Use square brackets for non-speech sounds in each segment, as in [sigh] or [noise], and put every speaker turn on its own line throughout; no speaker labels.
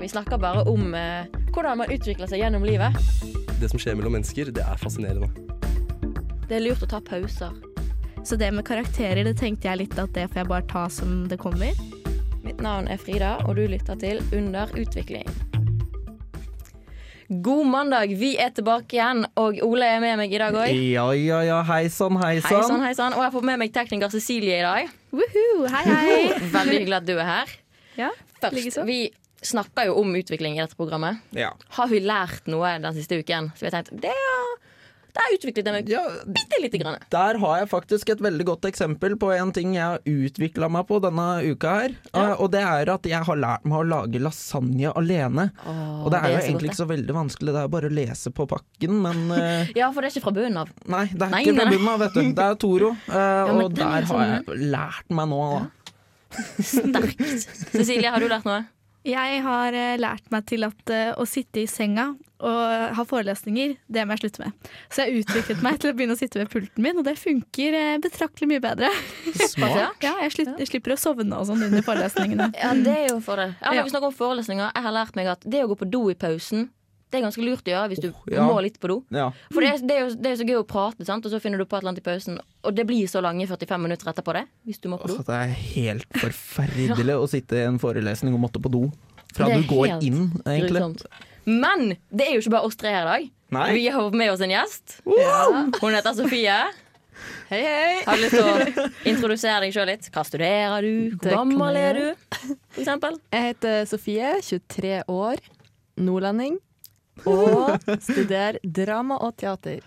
Vi snakker bare om eh, hvordan man utvikler seg gjennom livet.
Det som skjer mellom mennesker, det er fascinerende.
Det er lurt å ta pauser.
Så det med karakterer, det tenkte jeg litt at det får jeg bare ta som det kommer.
Mitt navn er Frida, og du lytter til Under utvikling. God mandag, vi er tilbake igjen, og Ole er med meg i dag òg.
Ja, ja, ja. Hei sann, hei
Hei sann,
sann.
hei sann. Og jeg får med meg tekniker Cecilie i dag.
Woohoo, hei, hei.
Veldig hyggelig at du er her.
[laughs] Ja,
Først,
likeså.
vi snakker jo om utvikling i dette programmet.
Ja.
Har vi lært noe den siste uken? Så vi har tenkt, det er, det er utviklet meg
ja,
bitte lite grann.
der har jeg faktisk et veldig godt eksempel på en ting jeg har utvikla meg på denne uka her. Eh, Og det er at jeg har lært meg å lage lasagne alene. Og det er jo egentlig ikke så veldig vanskelig, det er bare å lese på pakken, men eh,
[laughs] Ja, for det er ikke fra bunnen av.
Nei, det er
Nei,
ikke
nei.
Nebuna, vet du. Det er Toro. eh,
men
og
den er
der har
sånn,
jeg lært meg nå. da. [laughs]
Sterkt. Cecilie, har du lært noe?
Jeg har eh, lært meg til at eh, å sitte i senga og ha forelesninger, det må jeg slutte med. Så jeg utviklet meg til å begynne å sitte ved pulten min, og det funker eh, betraktelig mye bedre.
[laughs] Smart.
Ja, jeg, slitt, jeg slipper å sovne og sånn under forelesningene.
Ja, det er jo for det. Ja, når
Ja.
vi snakker om forelesninger, jeg har lært meg at det å gå på do i pausen, det er ganske lurt å gjøre hvis du
ja.
må litt på do.
Ja.
For det er, det, er jo, det er jo så gøy å prate, sant? og så finner du på et eller annet i pausen, og det blir så lange 45 minutter etterpå det, hvis du må på do.
Åh, Altså, det er helt forferdelig
[laughs]
å sitte i en forelesning og måtte på do. Fra
Det er
du går
helt
inn, egentlig.
Grusomt. Men det er jo ikke bare oss tre her i dag.
Nei.
Vi har med oss en gjest. Hun heter Sofie. Hei, hei. Har du lyst til å introdusere deg sjøl litt? Hva studerer du? Hvor
Det kan
gammel
jeg
er du? For eksempel.
Jeg heter Sofie, 23 år, nordlending, [laughs] og studerer drama og teater.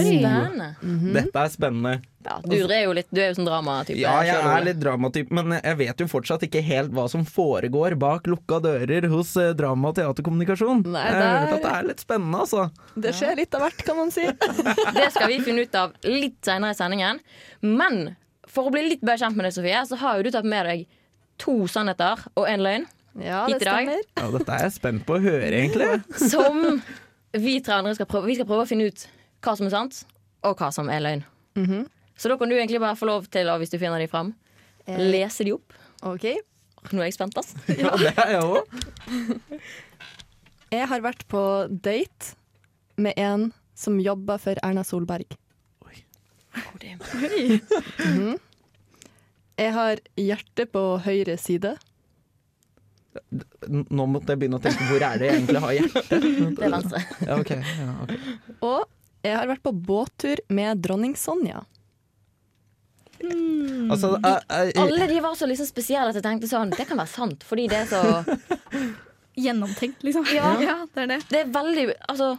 Spennende.
Dette er spennende.
Ja, du, er jo litt, du er jo sånn dramatype.
Ja, jeg
selv, Ole.
er litt dramatyp, men jeg vet jo fortsatt ikke helt hva som foregår bak lukka dører hos eh, drama- og teaterkommunikasjon.
Nei,
Jeg har hørt
der-
at det er litt spennende, altså.
Det skjer litt av hvert, kan man si.
Det skal vi finne ut av litt senere i sendingen. Men for å bli litt bedre kjent med deg, Sofie, så har jo du tatt med deg to sannheter og en løgn.
[laughs] Ja,
Hit i
det
dag.
stemmer.
Ja, dette er jeg spent på å høre, egentlig.
Som vi tre andre skal prøve, vi skal prøve å finne ut hva som er sant, og hva som er løgn. Så da kan du egentlig bare få lov til å, hvis du finner de fram,
Eh.
lese de opp.
OK.
Nå er jeg spent, ass.
[laughs] Ja, det er jeg òg.
Jeg har vært på date med en som jobber for Erna Solberg. Jeg har hjertet på høyre side.
N- Nå måtte jeg begynne å tenke hvor er det jeg egentlig har hjertet?
[laughs] Det er venstre.
Ja, ok, ja, ok.
Og jeg har vært på båttur med dronning Sonja.
Altså, jeg, jeg,
Alle de var så liksom spesielle at jeg tenkte sånn, det kan være sant, fordi det er så
Gjennomtenkt, liksom. [laughs]
Ja.
det er det.
Det er veldig Altså,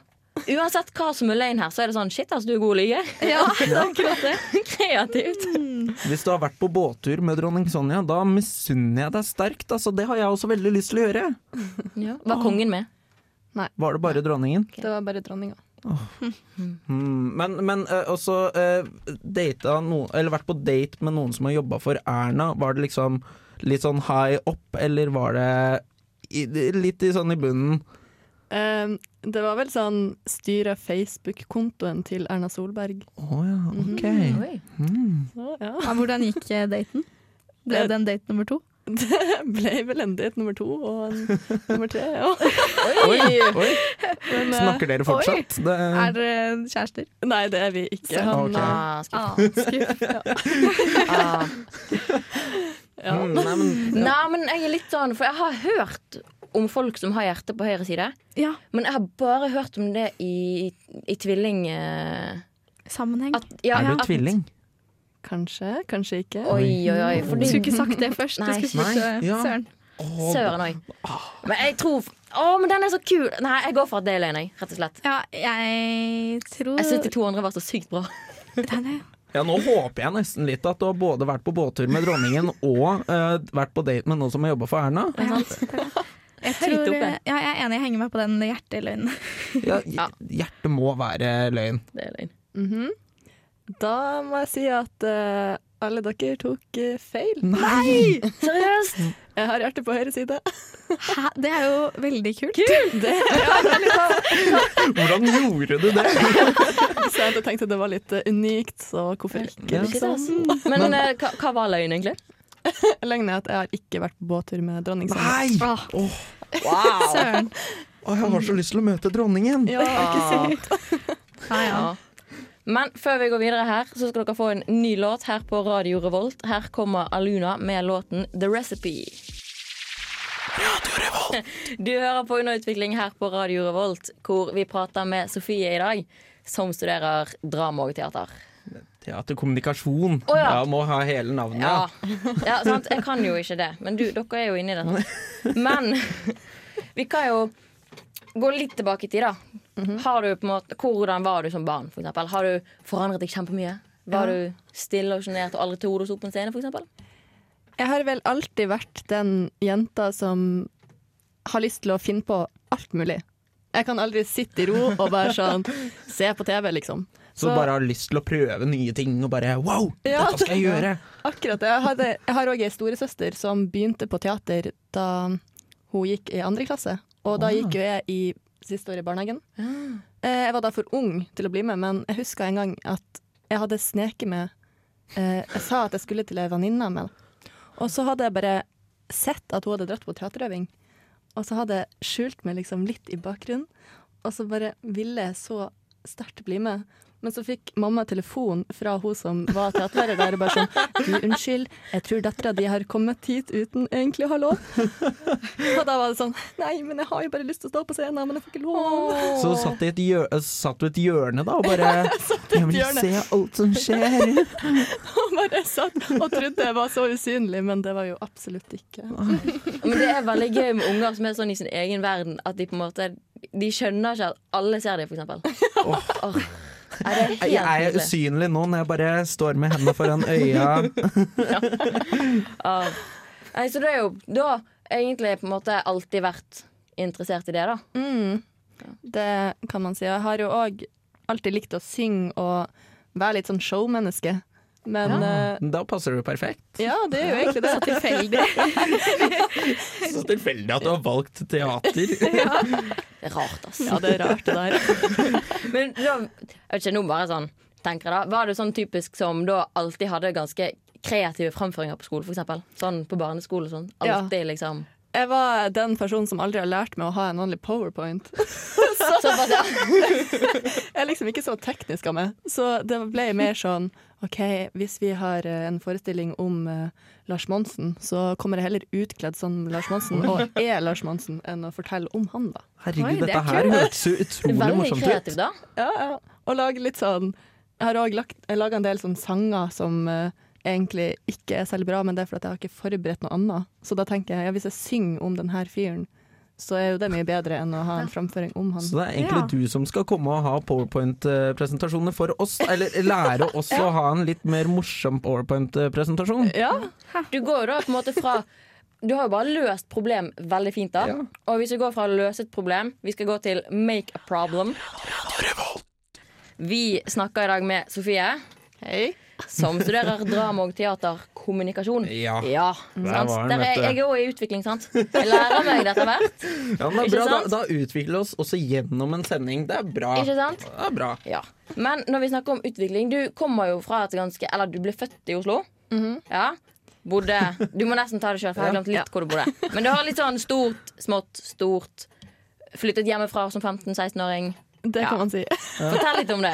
uansett hva som er løgn her, så er det sånn shit, ass, du er god til å lyge. [laughs]
Ja, det er akkurat det.
Kreativt.
hvis du har vært på båttur med dronning Sonja, da misunner jeg deg sterkt. Altså, det har jeg også veldig lyst til å gjøre.
Var kongen med?
Var det bare dronningen?
Det var bare dronninga.
Mm, men men eh, også eh, data noen, Eller vært på date med noen som har jobba for Erna. Var det liksom litt sånn high up, eller var det i, litt i sånn i bunnen?
Um, det var vel sånn styre Facebook-kontoen til Erna Solberg.
Å ja, ok.
Oi.
Så ja.
Ja, hvordan gikk eh, daten? Ble det en date nummer to?
Det ble vel en date nummer to og en nummer tre. Ja. [laughs]
Oi, [laughs] oi.
Men, eh,
Snakker dere fortsatt? Det,
Er dere kjærester?
Nei, det er vi ikke.
Ok.
eh,
Ah, skuff.
Ah, skuff.
Ah.
Ja.
Mm, nei, men,
Nei, men jeg er litt sånn, for jeg har hørt om folk som har hjertet på høyre side.
[laughs] Ja,
Men jeg har bare hørt om det i, i tvilling... eh,
sammenheng.
At, ja,
er du
at-
tvilling?
Kanskje, kanskje ikke.
Oi, oi, oi.
Du skulle
Fordi,
ikke sagt det først.
Nei.
Du skulle
Nei,
spurt
ja.
eh, Søren.
Å,
søren òg. Men jeg tror Å, men den er så kul! Nei, jeg går for at det er løgn, jeg. Rett og slett.
Ja, jeg tror
Jeg syns de to andre var så sykt bra.
Nei, nei.
Ja, nå håper jeg nesten litt at du har både vært på båttur med dronningen og eh, vært på date med noen som har jobba for Erna.
Ja, Jeg, tror,
oppe.
eh, ja, jeg er enig, jeg henger meg på den hjerteløgnen.
Ja, hjertet må være løgn.
Det er løgn.
Mhm. Da må jeg si at eh, alle dere tok eh, feil.
Nei!
Seriøst?
Jeg har hjertet på høyre side. [laughs]
Hæ? Det er jo veldig kult.
Det, ja, det er litt sånn.
Hvordan gjorde du det?
Så jeg tenkte det var litt eh, unikt, så hvorfor ikke?
Ja.
Shit,
Liksom.
ass. Men eh, hva, hva var løgn, egentlig?
Løgnen er at jeg har ikke vært på båttur med dronning Sonja.
Nei!
Ah,
Åh,
Wow!
Søren.
Å, jeg har så lyst til å møte dronningen!
Ja,
Ah.
Ja, ja.
Ja. Men før vi går videre her, så skal dere få en ny låt her på Radio Revolt. Her kommer Aluna med låten The Recipe. [laughs] Du hører på Underutvikling her på Radio Revolt, hvor vi prater med Sofie i dag, som studerer drama og teater.
Teaterkommunikasjon.
Å, ja.
må ha hele navnet.
Ja. ja, sant? Jeg kan jo ikke det, men du, dere er jo inne i det. [laughs] Sant? Men vi kan jo gå litt tilbake i tid, da. Har du på en måte, hvordan var du som barn, for eksempel? Har du forandret deg kjempemye? Var du stille og sjenert og aldri til hodet og sto på en scene, for eksempel?
Jeg har vel alltid vært den jenta som har lyst til å finne på alt mulig. Jeg kan aldri sitte i ro og bare sånn se på TV, liksom.
Så du bare har lyst til å prøve nye ting og bare wow,
Ja,
dette skal jeg
det-
gjøre!
Akkurat det. Jeg, hadde, jeg har òg ei storesøster som begynte på teater da hun gikk i andre klasse. Og da gikk jo jeg i siste år i barnehagen. Eh, Jeg var da for ung til å bli med, men jeg huska en gang at jeg hadde sneket med eh, Jeg sa at jeg skulle til ei venninne av meg, og så hadde jeg bare sett at hun hadde dratt på teaterøving. Og så hadde jeg skjult meg liksom litt i bakgrunnen, og så bare ville jeg så sterkt bli med. Men så fikk mamma telefon fra hun som var teaterlærer der, og bare sånn Du, unnskyld, jeg tror dattera di har kommet hit uten egentlig å ha lov. Og da var det sånn Nei, men jeg har jo bare lyst til å stå på scenen, men jeg får ikke lov.
Så satt du i et, hjø satt du i et hjørne da og bare
[laughs]
Jeg vil
hjørne.
se alt som skjer!
Og bare satt og trodde jeg var så usynlig, men det var jo absolutt ikke.
Men det er veldig gøy med unger som er sånn i sin egen verden, at de på en måte De skjønner ikke at alle ser dem, for eksempel. [laughs] Åh. Nei, det er [laughs]
Jeg
helt
er
nydelig.
usynlig nå når jeg bare står med hendene foran øya.
Ja. Nei, Så det er jo da egentlig på en måte alltid vært interessert i det, da.
Mm. Det kan man si. Jeg har jo òg alltid likt å synge og være litt sånn showmenneske. Men eh,
Da passer du perfekt.
ja, det er jo egentlig det.
Så tilfeldig.
Så tilfeldig at du har valgt teater.
Det er Rart, ass.
Ja, det er rart det der.
Men da, jeg vet ikke, nå bare sånn tenker jeg da Var du sånn typisk som da alltid hadde ganske kreative framføringer på skolen, for eksempel? Sånn på barneskole og sånn.
Ja.
Alltid liksom
Jeg var den personen som aldri har lært meg å ha en vanlig powerpoint.
Såpass, ja.
Jeg er liksom ikke så teknisk av meg, så det ble mer sånn OK, hvis vi har eh, en forestilling om eh, Lars Monsen, så kommer jeg heller utkledd som Lars Monsen, og er Lars Monsen, enn å fortelle om han, da.
Herregud,
Oi, det er
dette her hørtes jo utrolig
Veldig
morsomt ut.
kreativ, da.
Ja, ja. Og lage litt sånn Jeg har òg laga en del sånne sanger som eh, egentlig ikke er særlig bra, men det er fordi at jeg har ikke forberedt noe annet. Så da tenker jeg ja, hvis jeg synger om den her fyren, så er jo det mye bedre enn å ha en framføring om han.
Så det er egentlig du som skal komme og ha powerpoint-presentasjoner for oss, eller lære oss å ha en litt mer morsom powerpoint-presentasjon.
Ja,
Du går jo da på en måte fra Du har jo bare løst problem veldig fint, da.
Ja.
Og hvis vi går fra å løse et problem, vi skal gå til make a problem. Vi snakker i dag med Sofie,
hei.
som studerer drama og teaterkommunikasjon.
Ja.
ja
Ah. Der
sant?
var den,
Der
vet
er,
du.
jeg er òg i utvikling, sant? Jeg lærer meg dette
[laughs]
hvert.
Ja, men det er
Ikke
bra. Da,
sant?
da utvikler vi oss også gjennom en sending. Det er bra.
Ikke sant?
Det er bra.
Ja. Men når vi snakker om utvikling Du kommer jo fra et ganske Eller du ble født i Oslo. Ja. Bodde Du må nesten ta det sjøl, for jeg har glemt litt hvor du bodde. Men du har litt sånn stort, smått, stort. Flyttet hjemmefra som 15-16-åring.
Det
Ja.
kan man si. [laughs]
Fortell litt om det.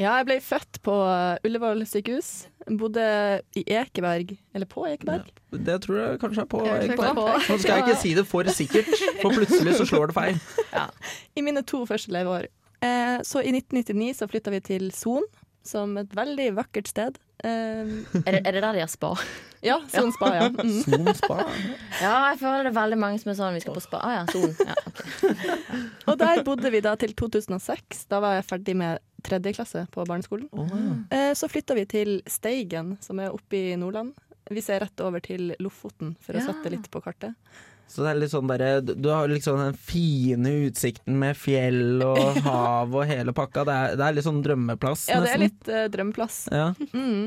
Ja, jeg ble født på eh, Ullevål sykehus. Bodde i Ekeberg, eller på Ekeberg.
Det tror jeg kanskje er på.
Jeg tror
Ekberg.
jeg
På-
Nå skal jeg ikke si det for sikkert, for plutselig så slår det feil.
I mine to første leveår. Eh, så i 1999 så flytta vi til Son, som et veldig vakkert sted. Eh, [laughs]
Er det, er det der de har spa?
ja, Son spa, ja. Mm.
Zoom spa.
Ja, jeg føler det er veldig mange som er sånn Vi skal på spa. Ah, ja, solen. Ja, ok.
Og der bodde vi da til 2006. Da var jeg ferdig med tredje klasse på barneskolen. Eh, så flytta vi til Steigen, som er oppe i Nordland. Vi ser rett over til Lofoten, for å
Ja.
sette litt på kartet.
Så det er litt sånn derre Du har liksom den fine utsikten med fjell
[laughs]
og hav og hele pakka. Det er, det er litt sånn drømmeplass,
Ja, det er
nesten.
litt eh, drømmeplass.
Ja.
Mm.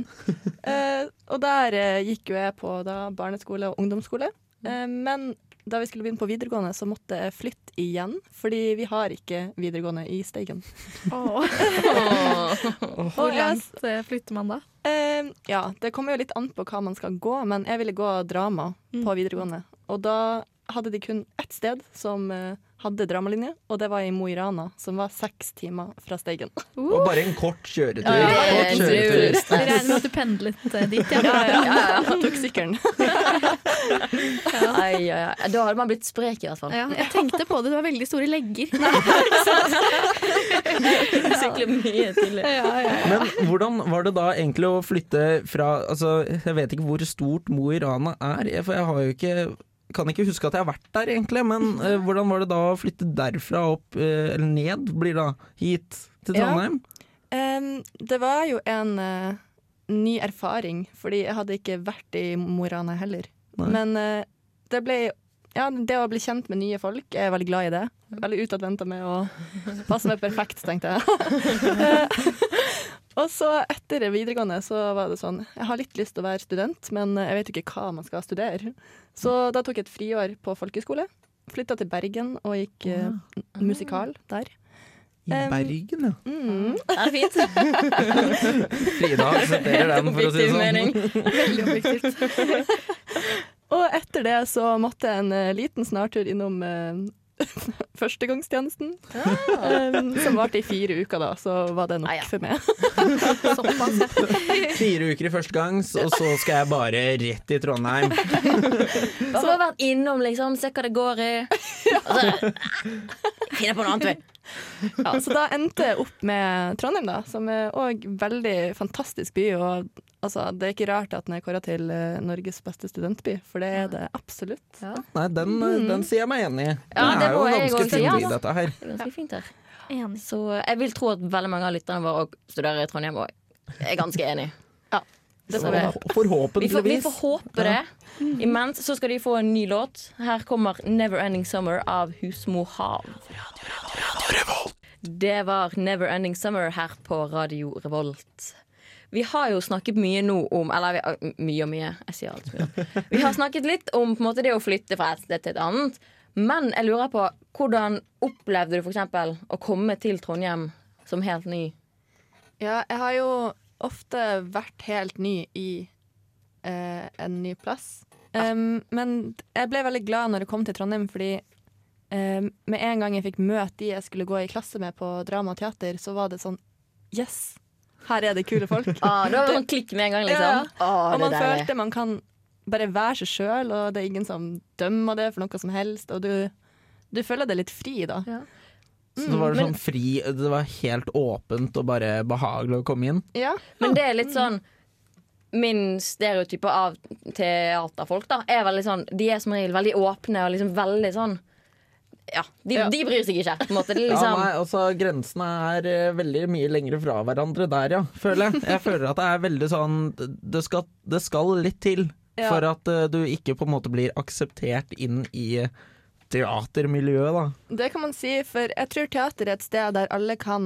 Eh, og der eh, gikk jo jeg på da, barneskole og ungdomsskole.
Mm.
Eh, men da vi skulle begynne på videregående, så måtte jeg flytte igjen, fordi vi har ikke videregående i Steigen.
Åh,
Åh.
Og
Hvor
jeg-
langt eh, flytter man da?
Eh,
Mm.
ja, det kommer jo litt an på hva man skal gå, men jeg ville gå drama på videregående. Og da hadde de kun ett sted som eh, hadde dramalinje, og det var i Mo i Rana, som var seks timer fra Steigen.
Og bare en kort kjøretur.
Ja, ja, ja,
kort
ja,
kjøretur.
ja.
Jeg regner med at du pendlet eh, dit, ja.
[laughs] Tok sykkelen.
Ai, ai, ai. Da hadde man blitt sprek, i hvert [laughs] fall.
Ja, jeg tenkte på det, du har veldig store legger. [laughs]
Sykle mye tidlig.
Men hvordan var det da egentlig å flytte fra Altså, jeg vet ikke hvor stort Mo i Rana er, jeg- for jeg har jo ikke kan ikke huske at jeg har vært der, egentlig, men eh, hvordan var det da å flytte derfra opp, eh, eller ned, blir det da, hit til
Ja.
Trondheim?
Em, det var jo en eh, ny erfaring, fordi jeg hadde ikke vært i Mo i Rana heller.
Nei.
Men eh, det ble ja, det å bli kjent med nye folk, jeg er veldig glad i det. Veldig utadvendta med å passe meg perfekt, tenkte jeg. [laughs] og så etter videregående så var det sånn Jeg har litt lyst til å være student, men jeg vet jo ikke hva man skal studere. Så da tok jeg et friår på folkehøyskole. Flytta til Bergen og gikk eh, musikal der.
I
Em,
Bergen, ja.
Mm.
Det er fint.
Frida aksepterer den, for å si
Objektiv
det sånn.
mening.
Veldig objektivt.
Og etter det så måtte jeg en eh, liten snartur innom eh, [laughs] førstegangstjenesten. Em, som varte i fire uker, da, så var det nok
Ah, ja.
for meg. [laughs]
Såpass.
Fire uker i første gangs, og så skal jeg bare rett til Trondheim.
Bare for å ha vært innom, liksom. Se hva det går [laughs] i. Altså, Og så [laughs] finne på noe annet. vel.
Ja, så da endte jeg opp med Trondheim, da, som er òg veldig fantastisk by. Og altså, det er ikke rart at den er kåra til eh, Norges beste studentby, for det er det absolutt.
Ja,
Nei, den, den sier jeg meg enig i.
Mm. Ja,
det
det
er jo
må
en
jeg
ganske
også si,
fin by,
altså.
dette her.
det er ganske fint her.
Enig.
Så jeg vil tro at veldig mange av lytterne våre også studerer i Trondheim. Og jeg er ganske enig.
Det
Så
får vi.
Vi får, vi
Forhåpentligvis.
får håpe det. Imens så skal de få en ny låt. Her kommer 'Never Ending Summer' av Husmo Hav. Det var 'Never Ending Summer' her på Radio Revolt. Vi har jo snakket mye nå om Eller vi, mye og mye. Jeg sier alt mye. Vi har snakket litt om på en måte, det å flytte fra et sted til et annet. Men jeg lurer på hvordan opplevde du f.eks. å komme til Trondheim som helt ny?
Ja, jeg har jo ofte vært helt ny i eh, en ny plass. Um, men jeg ble veldig glad når jeg kom til Trondheim, fordi um, med en gang jeg fikk møte de jeg skulle gå i klasse med på drama og teater, så var det sånn Yes! Her er det kule folk.
Ah, [laughs] det var sånn klikk med en gang, liksom. Ah,
og
det
man
er deilig.
følte man kan bare være seg sjøl, og det er ingen som dømmer det for noe som helst. Og du, du føler deg litt fri da.
Så det var
Mm, men-
sånn fri Det var helt åpent og bare behagelig å komme inn.
Ja.
Men det er litt sånn Min stereotype av teaterfolk da er veldig sånn De er som regel veldig åpne og liksom veldig sånn Ja, de,
Ja.
de bryr seg ikke. På en måte. Det er
Ja,
liksom,
nei, altså Grensene er eh, veldig mye lengre fra hverandre der, ja, føler jeg. Jeg føler at det er veldig sånn Det skal, det skal litt til
Ja.
for at eh, du ikke på en måte blir akseptert inn i teatermiljøet, da.
Det kan man si, for jeg tror teater er et sted der alle kan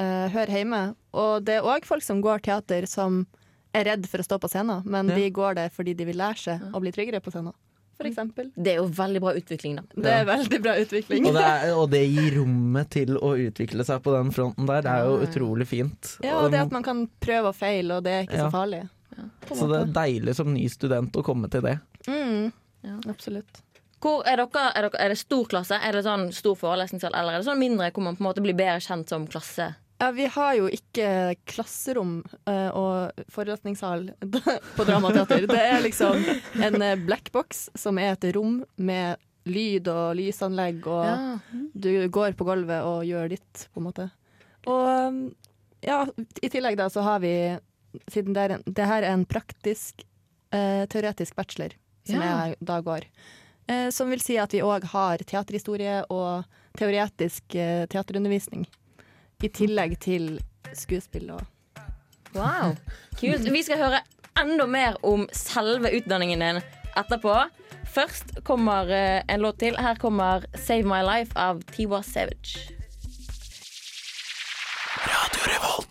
eh, høre hjemme. Og det er òg folk som går teater som er redd for å stå på scenen, men
Ja.
de går der fordi de vil lære seg å bli tryggere på scenen, for eksempel.
det er jo veldig bra utvikling, da.
Mm. Det er veldig bra utvikling.
Og det, er, og det gir rommet til å utvikle seg på den fronten der. Det er jo utrolig fint.
Ja, og det at man kan prøve og feile, og det er ikke
Ja.
så farlig. på en
så det er
måte.
deilig som ny student å komme til det.
Mm.
Ja.
Absolutt.
Hvor er, dere, er, dere, er det stor klasse? Er det sånn stor forelesningssal? Eller er det sånn mindre hvor man på en måte blir bedre kjent som klasse?
Ja, vi har jo ikke klasserom eh, og forelesningssal [laughs] på Dramateater. Det er liksom en eh, blackbox som er et rom med lyd og lysanlegg og
Ja.
du går på gulvet og gjør ditt, på en måte. Og um, ja, i tillegg da så har vi, siden det, er en, det her er en praktisk eh, teoretisk bachelor, som
Ja.
jeg da går, eh, som vil si at vi òg har teaterhistorie og teoretisk eh, teaterundervisning. I tillegg til skuespill og
Wow, kult. Vi skal høre enda mer om selve utdanningen din etterpå. Først kommer eh, en låt til. Her kommer 'Save My Life' av Tiwa Savage.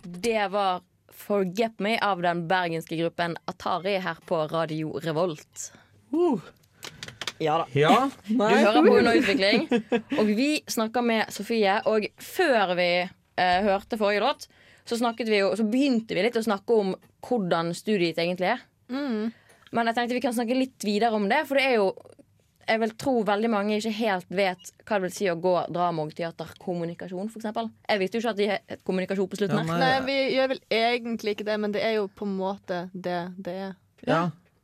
Det var 'Forget Me' av den bergenske gruppen Atari her på Radio Revolt. Ja da.
Ja,
Du
nei.
hører på Hun og utvikling. Og vi snakker med Sofie, og før vi eh, hørte forrige låt, så, snakket vi jo, så begynte vi litt å snakke om hvordan studiet egentlig er. Men jeg tenkte vi kan snakke litt videre om det, for det er jo jeg vil tro veldig mange ikke helt vet hva det vil si å gå dramateaterkommunikasjon, f.eks. Jeg visste jo ikke at de het kommunikasjon på slutten.
Ja,
her.
nei.
Nei, vi gjør vel egentlig ikke det, men det er jo på en måte det det er.
Ja.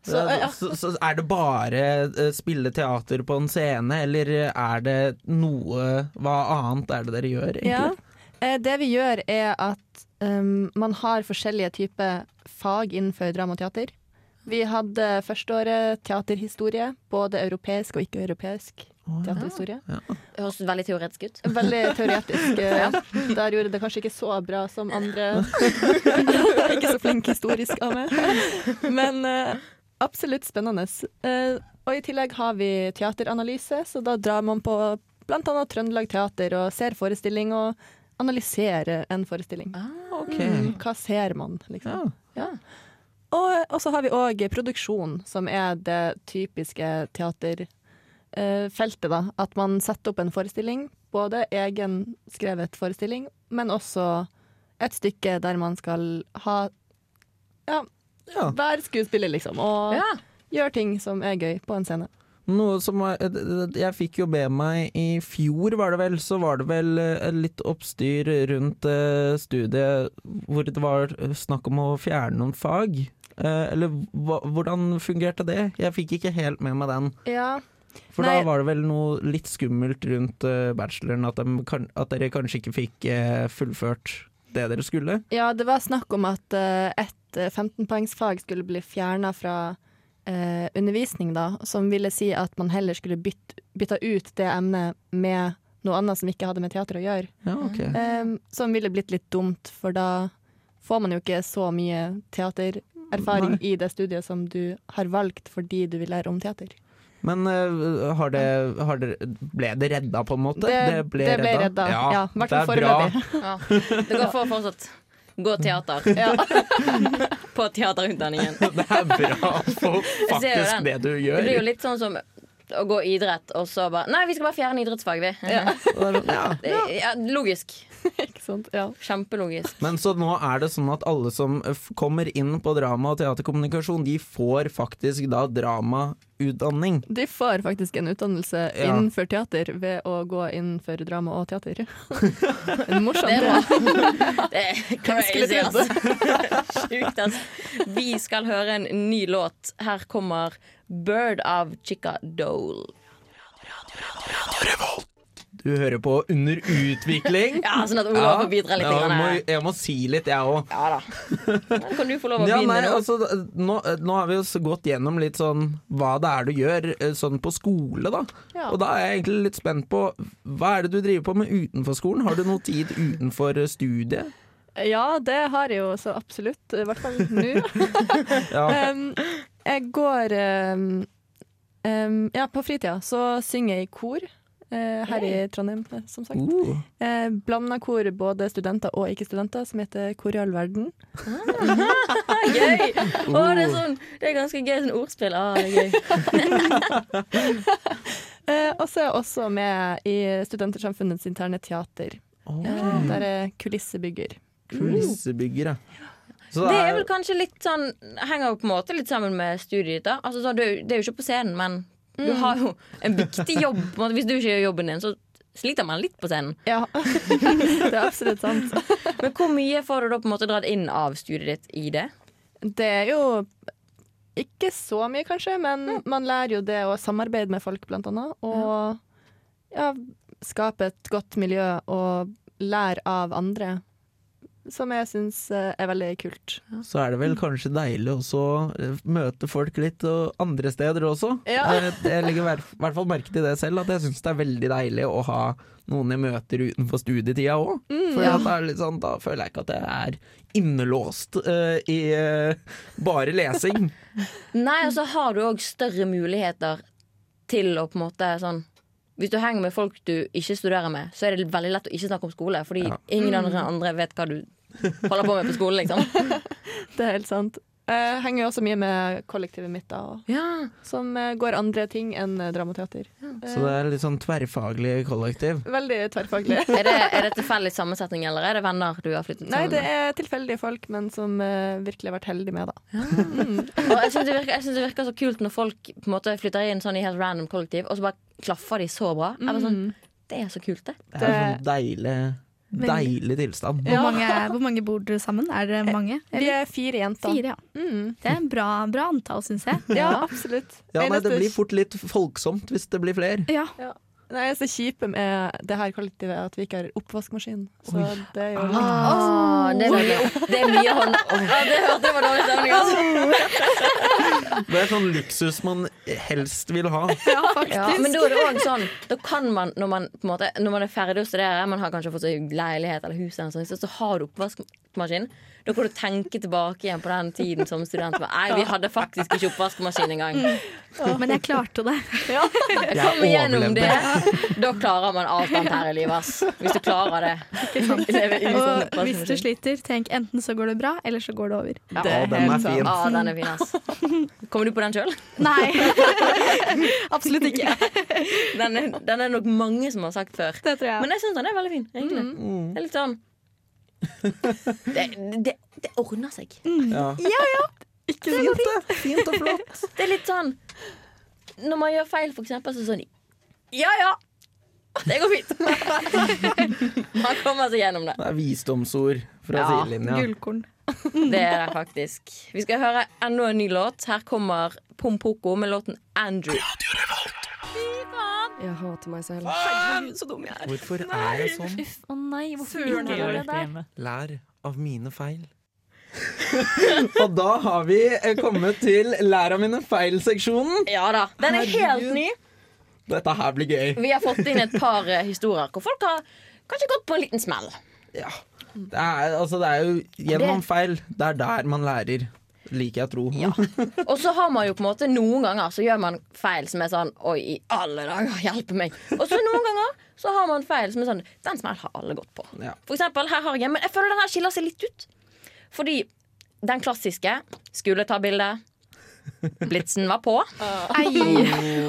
Så, ja.
Så, så er det bare eh, spille teater på en scene, eller er det noe Hva annet er det dere gjør, egentlig?
Eh, Det vi gjør, er at um, man har forskjellige typer fag innenfor drama og teater. Vi hadde førsteåret teaterhistorie, både europeisk og
Å,
ikke-europeisk
ja.
teaterhistorie.
Det høres veldig teoretisk ut.
Veldig teoretisk. eh, Der gjorde det kanskje ikke så bra som andre. [laughs] ikke så flink historisk av meg. Men eh, absolutt spennende. Eh, og i tillegg har vi teateranalyse, så da drar man på bl.a. Trøndelag Teater og ser forestilling og analyserer en forestilling.
Ah, Ok.
Mm, hva ser man, liksom?
Ja.
Og, og så har vi òg produksjon, som er det typiske teaterfeltet. da. At man setter opp en forestilling, både egen skrevet forestilling, men også et stykke der man skal ha Ja,
Ja.
være skuespiller, liksom. Og
Ja.
gjøre ting som er gøy på en scene.
Noe som var, eh, jeg fikk jo med meg i fjor, var det vel, så var det vel eh, litt oppstyr rundt eh, studiet hvor det var eh, snakk om å fjerne noen fag. Eh, Eller hva- hvordan fungerte det? Jeg fikk ikke helt med meg den.
Ja,
For
Nei.
da var det vel noe litt skummelt rundt eh, bacheloren, at, dem kan, at dere kanskje ikke fikk eh, fullført det dere skulle.
Ja, det var snakk om at eh, et eh, 15-poengsfag skulle bli fjerna fra eh, undervisning, da, som ville si at man heller skulle bytte, bytta ut det emnet med noe annet som ikke hadde med teater å gjøre.
Ja, ok.
Mm. Em, som ville blitt litt dumt, for da får man jo ikke så mye teatererfaring i det studiet som du har valgt fordi du vil lære om teater.
Men eh, har det, har det, ble det redda, på en måte?
det ble redda. Ja, i hvert fall
det er bra.
foreløpig.
Ja. Det går for fortsatt. Gå teater. På teaterutdanningen.
[laughs] Det er bra for
Jeg ser jo
faktisk
den.
det du
Det
gjør.
blir jo litt sånn som å gå idrett, og så bare Nei, vi skal bare fjerne idrettsfag, vi.
Ja.
[laughs] Det, ja, logisk.
[laughs] Ikke sant? Ja.
[laughs]
Kjempelogisk.
Men så nå er det sånn at alle som f- kommer inn på drama og teaterkommunikasjon, de får faktisk da dramautdanning.
De får faktisk en utdannelse
Ja.
innenfor teater ved å gå innenfor drama og
[laughs]
teater. Morsomt.
Det er
det.
bra. Det er
skulle
crazy,
trodd
altså. [laughs] Sjukt, altså. Vi skal høre en ny låt. Her kommer 'Bird' av Chica Dole.
Du hører på Under
[laughs]
utvikling.
Ja, sånn at Olav får bidra litt.
Ja, jeg,
grann
må,
her.
jeg må si litt, jeg òg.
Ja da. Men Kan du få lov å
Ja, nei,
begynne nå? [laughs]
altså, nå, nå har vi jo så gått gjennom litt sånn hva det er du gjør eh, sånn på skole, da.
Ja.
Og da er jeg egentlig litt spent på hva er det du driver på med utenfor skolen? Har du noe tid utenfor eh, studiet?
Ja, det har jeg jo så absolutt. I hvert fall nå.
Ja.
Eh,
Em, jeg går em, em, Ja, på fritida så synger jeg i kor eh, her i Trondheim, eh, som sagt.
Uh.
Uh, Blanda kor, både studenter og ikke-studenter, som heter Kor i all verden.
Gøy! Å, det,
Oh.
er sånn, det er ganske gøy sånn ordspill. Ah, det er gøy.
Eh, og så er jeg også med i Studentersamfunnets interne teater.
Ok.
eh, der jeg kullissebygger.
Kulissebyggere. Så
Det er vel kanskje litt sånn Henger jo på en måte litt sammen med studiet ditt. da. Altså, sånn, du, det er jo ikke på scenen, men du har jo en viktig jobb. På en måte. Hvis du ikke gjør jobben din, så sliter man litt på scenen.
Ja, [laughs] det er absolutt sant.
Men hvor mye får du da på en måte dratt inn av studiet ditt i det?
Det er jo ikke så mye, kanskje, men man lærer jo det å samarbeide med folk, blant annet. Og ja, skape et godt miljø og lære av andre, som jeg syns er veldig kult.
så er det vel kanskje deilig også å eh, møte folk litt og andre steder også.
Ja.
Eh, Jeg legger i hver- hvert fall merke til det selv, at jeg syns det er veldig deilig å ha noen jeg møter utenfor studietida òg. For at det er litt sånn, da føler jeg ikke at jeg er innelåst eh, i eh, bare lesing.
Nei, og så har du òg større muligheter til å på en måte sånn Hvis du henger med folk du ikke studerer med, så er det veldig lett å ikke snakke om skole, Mm. fordi ingen andre, andre vet hva du holder på med på skolen, liksom.
Det er helt sant. Jeg henger jo også mye med kollektivet mitt, da, og,
[laughs] Ja.
som eh, går andre ting enn eh, dramateater.
Så det er litt sånn tverrfaglig kollektiv.
Veldig tverrfaglig. [laughs]
Er det, er det tilfeldig sammensetning, eller er det venner du har flyttet
Nei,
sammen
det
med?
er tilfeldige folk, men som eh, virkelig har vært heldig med, da.
Ah. Og jeg syns det, virker- jeg synes det virker så kult når folk på en måte flytter inn sånn i helt random kollektiv, og så bare klaffer de så bra.
Mm.
Jeg var sånn, det er så kult, det.
Det er en sånn deilig, deilig tilstand.
Hvor, mange, hvor mange bor dere sammen? Er det mange?
Vi
Eller?
er fire jenter.
Fire, ja.
Mm.
Det er en bra, bra antall, syns jeg.
Ja, absolutt.
Ja, nei,
Eneste
det blir fort litt folksomt hvis det blir flere.
Ja.
Det eneste kjipe med det her kollektivet er at vi ikke har oppvaskmaskin. Så det er jo
Ah. Åh, det, er mye, det er mye hånd... [laughs] Ja, det hørte jeg var dårlig stemning. Altså.
Det er sånn luksus man helst vil ha.
Ja, men da er det også sånn Da kan man, når man, på en måte, når man er ferdig å studere, man har kanskje fått seg leilighet eller hus, eller noe sånt, så- så har du oppvaskmaskin. Da kan du tenke tilbake igjen på den tiden som student. Bare, Nei, vi hadde faktisk ikke oppvaskmaskin [laughs] engang.
Men jeg klarte det.
Jeg kom igjennom det.
overlevde.
Da klarer man alt annet her i livet, ass. Hvis du klarer det.
[laughs]
Leve uten
Og hvis du
oppvaskmaskin.
sliter, tenk enten så går det bra, eller så går det over.
Ja, den er fin.
Ja, den er fin, ass. Kommer du på den sjøl?
Nei, absolutt ikke.
Den, er- den er nok mange som har sagt før.
Det tror jeg.
Men jeg syns den er veldig fin, egentlig.
Mm.
Det er litt
[laughs]
sånn det, det, det ordner seg.
Ja.
Ikke så godt.
Fint og flott.
Det er litt sånn Når man gjør feil, for eksempel, så er det sånn Ja ja! Det går
[laughs]
fint. Man kommer seg gjennom det.
Det er visdomsord fra
Ja,
sidelinja.
Gullkorn.
Det er det faktisk. Vi skal høre enda en ny låt. Her kommer Pompoko med låten 'Andrew'.
Jeg hater meg selv.
Hvorfor er jeg sånn?
Å nei, hvorfor gjorde jeg det der?
Lær av mine feil. [laughs] og da har vi eh, kommet til lær av mine feil-seksjonen.
Ja da. Den er helt
Herregud.
ny.
Dette her blir gøy.
Vi har fått inn et par eh, historier hvor folk har kanskje gått på en liten smell.
Ja. Det, er, altså, det er jo gjennom feil. Det er der man lærer, liker jeg å tro.
Og så har man jo på en måte noen ganger så gjør man feil som er sånn Oi, i alle dager, hjelpe meg. Og så noen ganger så har man feil som er sånn Den smell har alle gått på.
Ja.
For eksempel, her har jeg Men jeg føler den her skiller seg litt ut. Fordi den klassiske skulle ta bilde. Blitsen var på.
Ei.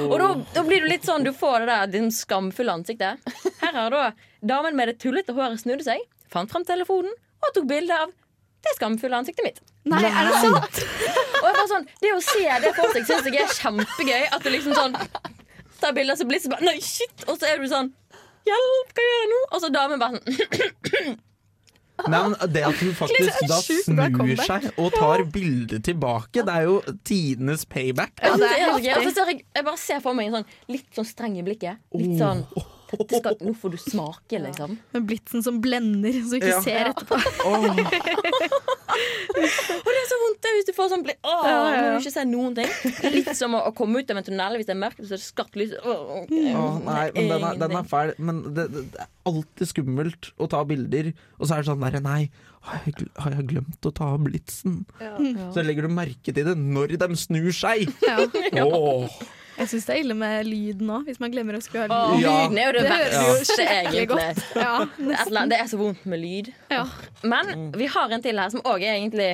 Og da, da blir du litt sånn, du får det der din skamfulle ansiktet. Her har da damen med det tullete håret snudde seg, fant fram telefonen og tok bilde av det skamfulle ansiktet mitt.
Nei, er det sant?
Og jeg bare sånn, Det å se det for seg syns jeg er kjempegøy. At du liksom sånn tar bilder, så blir det så bare Nei, shit! Og så er du sånn Hjelp, hva gjør jeg nå? Og så damen bare sånn
Nei, men det at hun faktisk da
sjukt bra
snur
comeback.
seg og tar bildet tilbake, det er jo tidenes payback.
ja,
det er
Og så ser jeg, jeg bare ser for meg en sånn litt sånn streng i blikket. Litt sånn
Oh.
Dette skal, Nå får du smake, liksom.
Med blitsen som blender, så du ikke
Ja.
ser etterpå.
Åh,
Det er så vondt det, hvis du får sånn blikk. Åh,
Ja, ja, ja.
nå vil du ikke se noen ting. Litt som å, å komme ut av en tunnel hvis det er mørkt, og så er det skarpt lys. Åh, ok.
Mm.
åh, nei, men den er, den
Ingenting.
er fæl. Men det, det, det er alltid skummelt å ta bilder, og så er det sånn derre Nei, har jeg, gl- har jeg glemt å ta av blitsen? Så legger du merke til det når de snur seg.
Ja.
Åh.
Jeg syns det er ille med lyden òg, hvis man glemmer å skulle ha
Åh,
lyd.
Ja.
Lyden er jo det
Det høres jo
verste,
skikkelig
egentlig.
godt. Ja,
Et eller annet- Det er så vondt med lyd.
ja.
Mm.
Men vi har en til her som òg er egentlig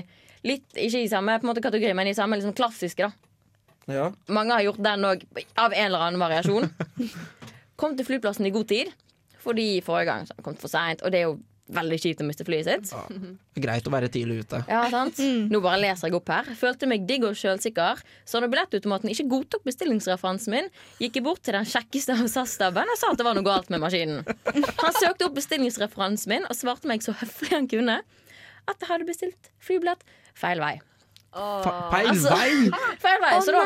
litt Ikke i samme på en måte, kategori, men i samme liksom, klassiske. da
Ja.
Mange har gjort den òg, av en eller annen
[laughs]
variasjon. Kom til flyplassen i god tid, fordi forrige gang så kom det for seint. Og det er jo veldig kjipt å miste flyet sitt.
Greit å være tidlig ute.
Ja, sant? Nå bare leser jeg opp her. Følte meg digg og sjølsikker. Så når billettautomaten ikke godtok bestillingsreferansen min, gikk jeg bort til den kjekkeste av SAS-staben og sa at det var noe galt med maskinen. Han søkte opp bestillingsreferansen min og svarte meg så høflig han kunne at jeg hadde bestilt flybillett feil vei.
Fa- Feil
Altså-
vei!
Feil vei, så da,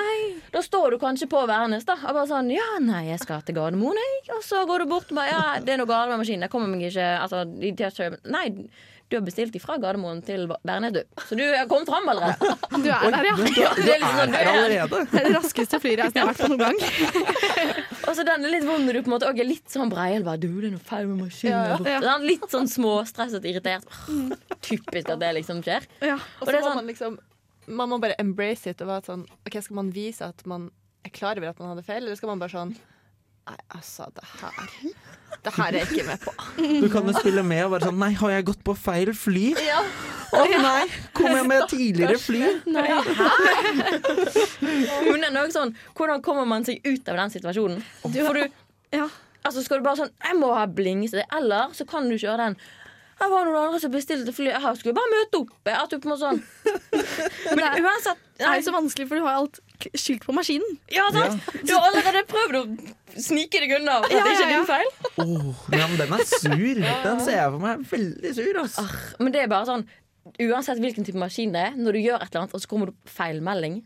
da står du kanskje på Værnes da, og bare sånn Ja, nei, jeg skal til Gardermoen, jeg. Og så går du bort og bare Ja, det er noe galt med maskinen. Jeg kommer meg ikke Altså, de de har ikke Nei, du har bestilt ifra Gardermoen til Værnes, du. Så du har kommet fram allerede.
Du er der, ja.
Det er litt sånn,
Er her allerede.
Det er det raskeste flyreisen jeg har vært på noen gang.
Og så den er litt vond når du på en måte også er litt sånn breial. Bare, du, det er noe feil med maskinen.
Ja, ja.
borte. Den er Litt sånn småstresset, irritert. Åh, Typisk at det liksom skjer.
Ja.
Og
Og så
det er
må
sånn-
man liksom Man må bare embrace it og være sånn OK, skal man vise at man er klar over at man hadde feil, eller skal man bare sånn Nei, altså, det her Det her er jeg ikke med på.
Du kan jo spille med og være sånn Nei, har jeg gått på feil fly? Å nei, kom jeg med tidligere fly?
Men den er også sånn, hvordan kommer man seg ut av den situasjonen? For du,
Ja.
altså Skal du bare sånn 'Jeg må ha blingse', eller så kan du kjøre den. Jeg var noen andre som bestilte fly. Jeg skulle bare møte opp. At du på en måte sånn Men uansett
Det er jo så vanskelig, for du har alt k- skyldt på [laughs] maskinen.
Ja, sant? Du har allerede prøvd å snike deg unna. For at det ikke er din feil.
Åh, ja, men den er sur. Den ser jeg for meg. Veldig sur, ass.
Men det er bare sånn Uansett hvilken type maskin det er, når du gjør et eller annet, og så kommer det opp feil melding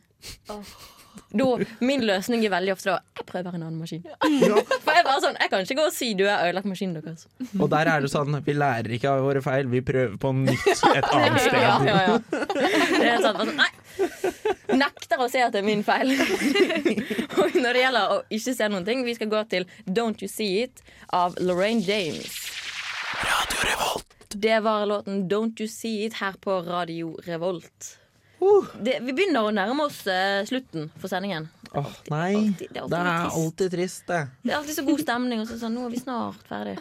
da, Min løsning er veldig ofte da Jeg prøver en annen maskin.
Ja.
For jeg er bare sånn, jeg kan ikke gå og si du har ødelagt maskinen deres.
Og der er det sånn, vi lærer ikke av våre feil, vi prøver på nytt et
[laughs] [laughs] Ja,
annet sted.
ja, ja. Det er sant, bare sånn, nei. Nekter å se at det er min feil. [laughs] Og når det gjelder å ikke se noen ting, vi skal gå til Don't You See It av Lorraine James. Det var låten Don't You See It her på Radio Revolt. Det, vi begynner å nærme oss eh, slutten for sendingen.
Åh, nei.
Alltid- det er alltid
Det
litt
er
trist.
alltid trist, det.
Det er alltid så god stemning, og så sånn, nå er vi snart ferdig.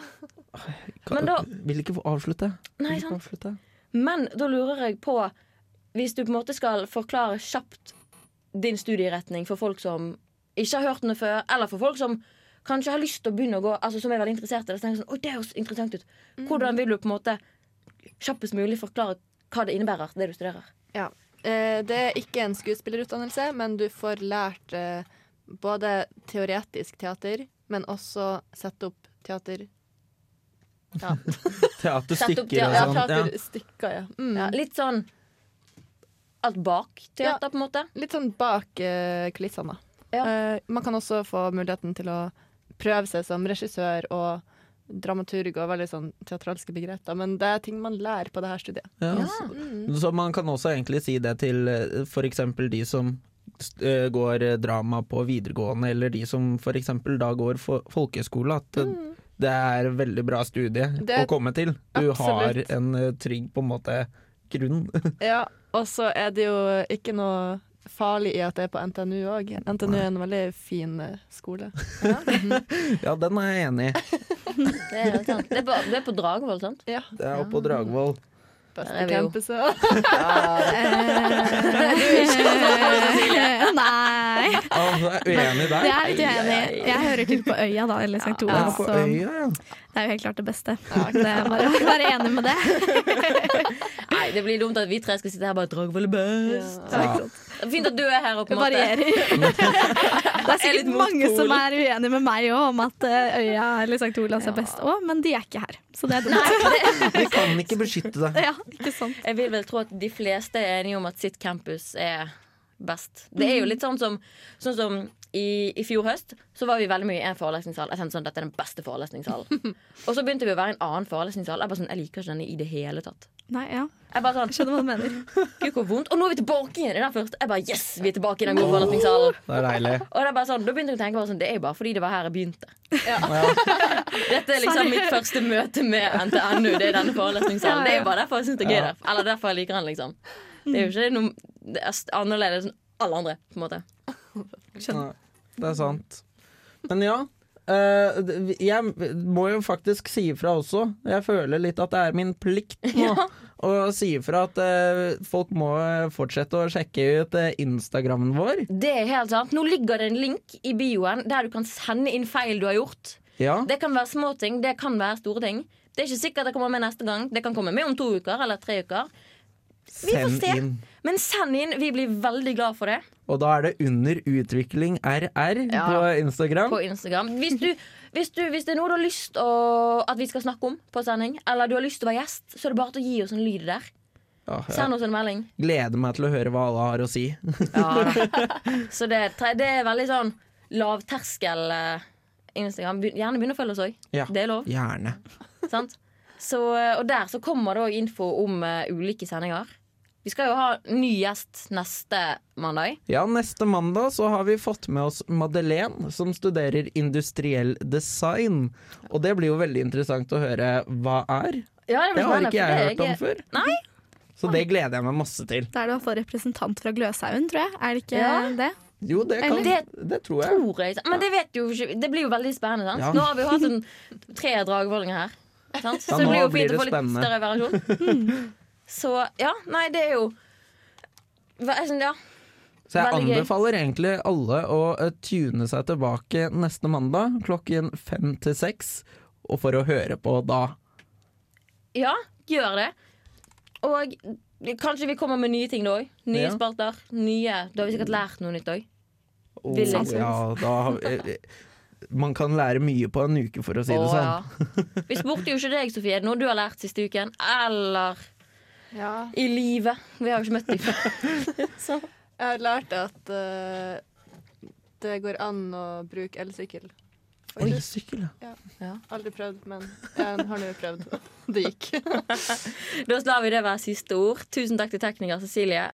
Kan,
Men da-
Vil ikke få avslutte. Vil
Nei,
ikke
sant.
avslutte.
Men da lurer jeg på Hvis du på en måte skal forklare kjapt din studieretning for folk som ikke har hørt den før, eller for folk som kanskje har lyst til å begynne å gå, altså som er veldig interessert i det, så tenker jeg sånn, Oi, det høres interessant ut. Hvordan vil du på en måte kjappest mulig forklare hva det innebærer, det du studerer?
Ja. Eh, Det er ikke en skuespillerutdannelse, men du får lært eh, både teoretisk teater, men også sette opp teater.
Sett opp
Teaterstykker
teater-
og
Ja,
sånn. Ja.
teaterstykker, ja. Mm.
Ja, litt sånn alt bak teater, på en måte.
Litt sånn bak eh, kulissene, da.
Ja.
Eh, man kan også få muligheten til å prøve seg som regissør og dramaturg og veldig sånn teatralske begreper, men det er ting man lærer på det her studiet.
Ja.
Mm.
Så man kan også egentlig si det til eh, for eksempel de som eh, går eh, drama på videregående, eller de som for eksempel da går for folkeskole, at eh,
Mm.
det er et veldig bra studie
Det-
å komme til. Du
Absolutt.
har en eh, trygg på en måte grunn.
[laughs]
[laughs]
Ja, og så er det jo ikke noe farlig i at det er på NTNU òg. NTNU er en veldig fin eh, skole.
ja, den er jeg enig i.
Det er, helt sant. Det er, på, det er på Dragvoll, sant?
Ja,
Det er oppe på Dragvoll.
Der er
beste
vi jo.
campuset.
[laughs]
Eh, Nei,
Å, du Ah, er uenig
det
der?
er jeg ikke jeg enig i. Jeg hører til på Øya, da, eller St.
Ja,
Olavs.
på
sånn.
så
øya, ja.
det er jo helt klart det beste. Det er bare å være enig med det.
Nei, det blir dumt at vi tre skal sitte her og bare Dragvoll er best.
Ja.
Fint at du er her og på
Det
en måte
[laughs]
varierer. Det er sikkert
litt
mange
motpol.
som er uenige med meg òg om at eh, Øya eller St. Olavs er best òg, men de er ikke her. Så det er dumt.
Vi kan ikke beskytte deg.
[laughs] Ja, ikke sant.
Jeg vil vel tro at de fleste er enige om at sitt campus er best. Det er jo litt sånn som, sånn som i, i fjor høst så var vi veldig mye i en forelesningssal. Jeg tenkte sånn, dette er den beste forelesningssalen. Og så begynte vi å være i en annen forelesningssal. Jeg bare sånn, jeg liker ikke denne i det hele tatt.
Nei, ja.
Jeg bare sånn,
Skjønner hva du mener.
Gud, hvor vondt. Og nå er vi tilbake igjen i den første. Jeg bare, yes, vi er tilbake i den gode forelesningssalen.
Det er deilig.
Og det er bare sånn, da begynte jeg å tenke bare sånn, det er jo bare fordi det var her jeg begynte. Dette er liksom
Sorry.
mitt første møte med NTNU. Det er denne forelesningssalen.
Ja, ja.
Det er jo bare derfor jeg syns det er gøy der. Eller derfor jeg liker den, liksom. Det er jo ikke noe det er st- annerledes enn alle andre, på en måte.
Nei, det er sant. Men ja. eh, d- jeg må jo faktisk si ifra også. Jeg føler litt at det er min plikt nå å si ifra at eh, folk må eh, fortsette å sjekke ut eh, Instagrammen vår.
Det er helt sant. Nå ligger det en link i bioen der du kan sende inn feil du har gjort.
Ja.
Det kan være små ting, det kan være store ting. Det er ikke sikkert det kommer med neste gang. Det kan komme med om to uker eller tre uker. Vi får se.
inn.
Men send inn. Vi blir veldig glad for det
Og da er det under utvikling RR på Instagram.
på Instagram. Hvis, du, hvis, du, hvis det er noe du har lyst å, at vi skal snakke om på sending, eller du har lyst til å være gjest, så er det bare til å gi oss en lyd der.
Åh, jeg
Send oss en melding.
gleder meg til å høre hva alle har å si.
[laughs] Så det, er tre- det er veldig sånn lavterskel eh, Instagram. Be- Gjerne begynn å følge oss òg.
Ja.
Det er lov.
Gjerne.
Sant? Så, eh, og der så kommer det òg info om eh, ulike sendinger. Vi skal jo ha ny gjest neste mandag.
Ja, neste mandag så har vi fått med oss Madeleine, som studerer industriell design. Og det blir jo veldig interessant å høre hva er.
Ja, det blir
Det har
spennende,
ikke
for
jeg
det er
hørt om
ikke-
før.
Nei.
Så det gleder jeg meg masse til.
Da er det i hvert fall representant fra Gløshaugen, tror jeg. Er det ikke
Ja.
det?
Jo, det kan Det,
Eller-
tror jeg.
Tror jeg. Men det vet jo ikke Det blir jo veldig spennende. Sant?
Ja.
Nå har vi jo hatt en, tre dragvollinger her. Sant? Så
Ja,
det
nå
blir jo
blir
fint
det
å få litt
spennende. [laughs]
større variasjon. Så ja, nei, det er jo Hva- jeg synes- Ja.
Så jeg
Veldig gøy.
anbefaler egentlig alle å eh, tune seg tilbake neste mandag klokken fem til seks, og for å høre på da.
Ja, gjør det. Og kanskje vi kommer med nye ting da òg. Nye
Ja.
spalter. Nye. Da har vi sikkert lært noe nytt òg.
Og,
Vil jeg si.
ja, da har vi- eh, man kan lære mye på en uke, for å si det sånn.
Vi spurte jo ikke deg, Sofie. Er det noe du har lært siste uken? Eller i livet? Vi har jo ikke møtt deg før.
[laughs]
[laughs]
Jeg har lært at eh, det går an å bruke elsykkel.
Oi, sykkel, ja.
Aldri prøvd, men jeg har nå prøvd. Det gikk.
Da lar vi det være siste ord. Tusen takk til tekniker Cecilie.